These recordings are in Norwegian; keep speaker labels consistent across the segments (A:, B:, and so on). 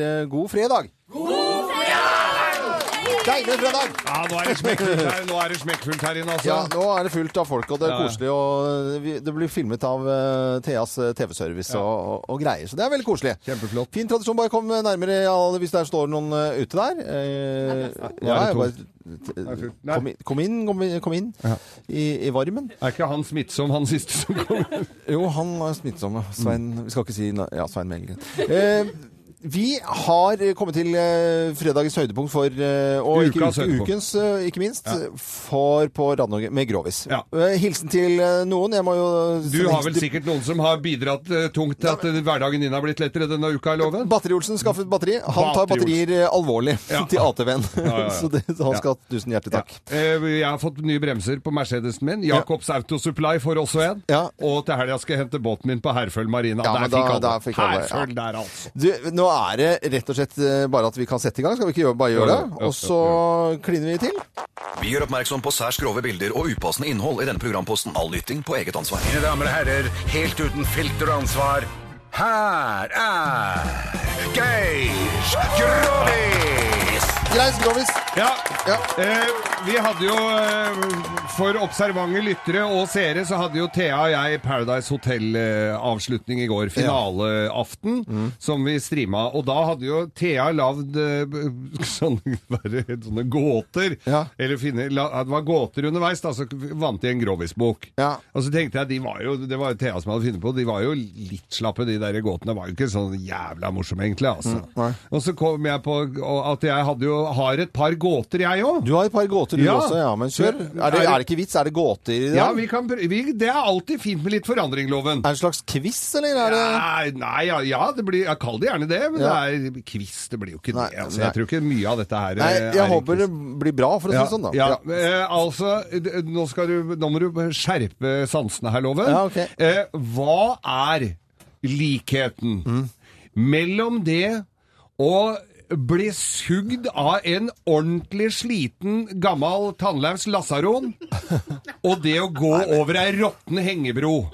A: Eh, God fredag! Deilig fredag!
B: Ja, nå er det smekkfullt her, nå er det smekkfullt her inne, altså.
A: Ja, nå er det fullt av folk, og det er
B: Ja, ja.
A: koselig. Og eh, vi- det blir filmet av eh, Theas eh, TV-service og, og, og greier, så det er veldig koselig.
B: Kjempeflott.
A: Fin tradisjon. Bare kom nærmere alle hvis det står noen eh, ute der. Eh, ja,
B: Nå er det
A: bare,
B: er fullt.
A: eh,
B: Nei.
A: kom, inn, kom inn, kom inn, kom inn i, i varmen.
B: Er ikke han smittsom, han siste som kom?
A: Jo, han er smittsom. ja. Svein, Vi skal ikke si na- ja, Svein Melgren. Eh, vi har kommet til eh, fredagens høydepunkt for eh, Og ikke,
B: Ukas
A: uke-
B: høydepunkt.
A: ukens, eh, ikke minst. For på Radio Norge med Grovis.
B: Ja.
A: Eh, hilsen til eh, noen. Jeg må jo
B: Du
A: sende
B: har
A: hilsen
B: vel
A: til-
B: sikkert noen som har bidratt eh, tungt til at eh, hverdagen din har blitt lettere denne uka, er loven?
A: Batteri-Olsen skaffet batteri. Han tar
B: Batteri-Olsen.
A: batterier eh, alvorlig
B: Ja.
A: til ATV-en.
B: ja, ja.
A: Så, det- så han
B: Ja.
A: skal ha tusen hjertelig takk.
B: Eh, Jeg har fått nye bremser på Mercedesen min. Jacobs Auto Supply får også en.
A: Ja.
B: Og til helga skal jeg hente båten min på Herføl Marina.
A: Ja, men
B: der, fikk
A: da-
B: alle.
A: der fikk alle, ja.
B: Herføl der, altså.
A: Du, nå er det rett og slett eh, bare at vi kan sette i gang. Skal vi ikke gjøre, bare gjøre
B: Ja,
A: det?
B: ja, ja,
A: Og så kliner vi til.
C: Vi gjør oppmerksom på særs grove bilder og upassende innhold i denne programposten. All lytting på eget ansvar.
D: Mine damer og herrer, helt uten filter og ansvar, her er Geir Grovis!
A: Greis Grovis.
B: Ja.
A: Ja.
B: Eh, vi hadde jo, eh, for observante lyttere og seere, så hadde jo Thea og jeg Paradise Hotel-avslutning i går. Finaleaften,
A: Mm.
B: som vi streama. Og da hadde jo Thea lagd eh, b- sånne, bare sånne gåter.
A: Ja.
B: Eller finne, la, ja, det var gåter underveis, da, så vant de en Grovis-bok.
A: Ja.
B: Og så tenkte jeg, de var jo, det var jo Thea som hadde funnet på, de var jo litt slappe, de der gåtene. Var jo ikke sånn jævla morsomme, egentlig. altså.
A: Mm,
B: og så kom jeg på at jeg hadde jo, har et par gåter, jeg òg.
A: Du har et par gåter du
B: Ja.
A: også, ja, men kjør. Er det, er det ikke vits? Er det gåter i det?
B: Ja, vi kan, prø- vi, det er alltid fint med litt forandring, Loven.
A: Er det en slags quiz, eller er det
B: Nei, nei, ja, ja det blir, jeg kaller det gjerne det, men
A: Ja.
B: det er quiz. Det blir jo ikke
A: Nei,
B: det. Altså,
A: nei.
B: jeg tror ikke mye av dette her
A: Nei,
B: eh,
A: jeg
B: er en
A: håper
B: quiz.
A: det blir bra, for å si det sånn, da.
B: Ja,
A: Ja.
B: Eh, altså, d- nå, skal du, nå må du skjerpe sansene her, Loven.
A: Ja, ok.
B: eh, hva er likheten mellom det å bli sugd av en ordentlig sliten, gammel tannlaus lasaron og det å gå over ei råtten hengebro?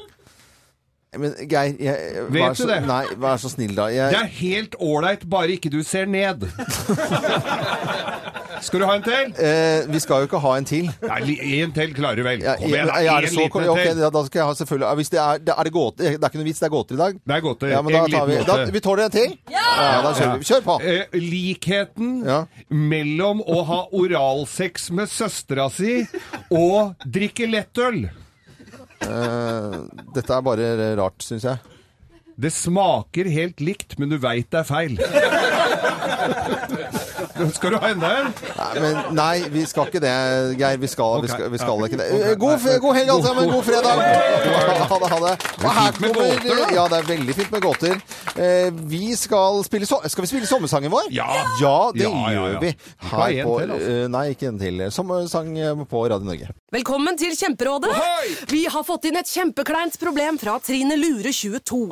A: Men Geir, jeg, vær
B: Vet du
A: så,
B: det?
A: Nei, vær så snill, da.
B: Det
A: Jeg,
B: er helt ålreit, bare ikke du ser ned. Skal du ha en til?
A: eh, vi skal jo ikke ha en til.
B: Nei, li- en til klarer du vel.
A: Jeg,
B: Kom igjen, da.
A: jeg- jeg er
B: En
A: så,
B: liten
A: ok,
B: til.
A: da, da skal jeg ha selvfølgelig ja, hvis det, er, det, er det, gåter, det er ikke noe vits, det er gåter i dag.
B: Det er godt.
A: Ja, men da tar vi da, Vi tåler en til? Ja! da kjører vi. Kjør på.
B: Eh, likheten
A: Ja.
B: mellom å ha oralsex med søstera si og drikke lettøl.
A: Dette er bare rart, syns jeg.
B: Det smaker helt likt, men du veit det er feil. Skal du ha enda en?
A: Nei, men, nei, vi skal ikke det, Geir. Vi skal, vi skal, vi skal
B: Ok, ja.
A: ikke det.
B: Ok.
A: Eh, God, f- god helg, alle sammen. God fredag. Ha det, ha det. Og her
B: med gåter, da.
A: kommer Ja, det er veldig fint med gåter. Eh, Vi skal spille so Skal vi spille sommersangen vår?
B: Ja.
A: Ja, det
B: Ja, ja, ja.
A: gjør vi.
B: Vi skal ha en
A: på
B: til, altså.
A: eh, Nei, ikke en til. Sommersang eh, på Radio Norge.
E: Velkommen til Kjemperådet. Vi har fått inn et kjempekleint problem fra Trine Lure 22.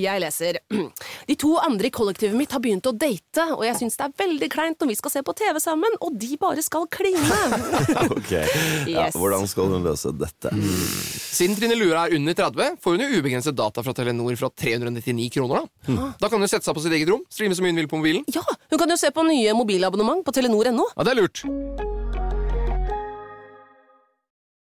E: Jeg leser. De to andre i kollektivet mitt har begynt å date, og jeg syns det er veldig kleint når vi skal se på TV sammen, og de bare skal kline.
F: Ok, ja,
E: Yes.
F: Hvordan skal hun løse dette?
G: Siden Trine Lura er under 30, får hun jo ubegrenset data fra Telenor fra 399 kroner. Da Da kan hun sette seg på sitt eget rom, streame så mye hun vil på mobilen.
E: ja, hun kan jo se på nye mobilabonnement på telenor.no.
G: Ja, Det er lurt.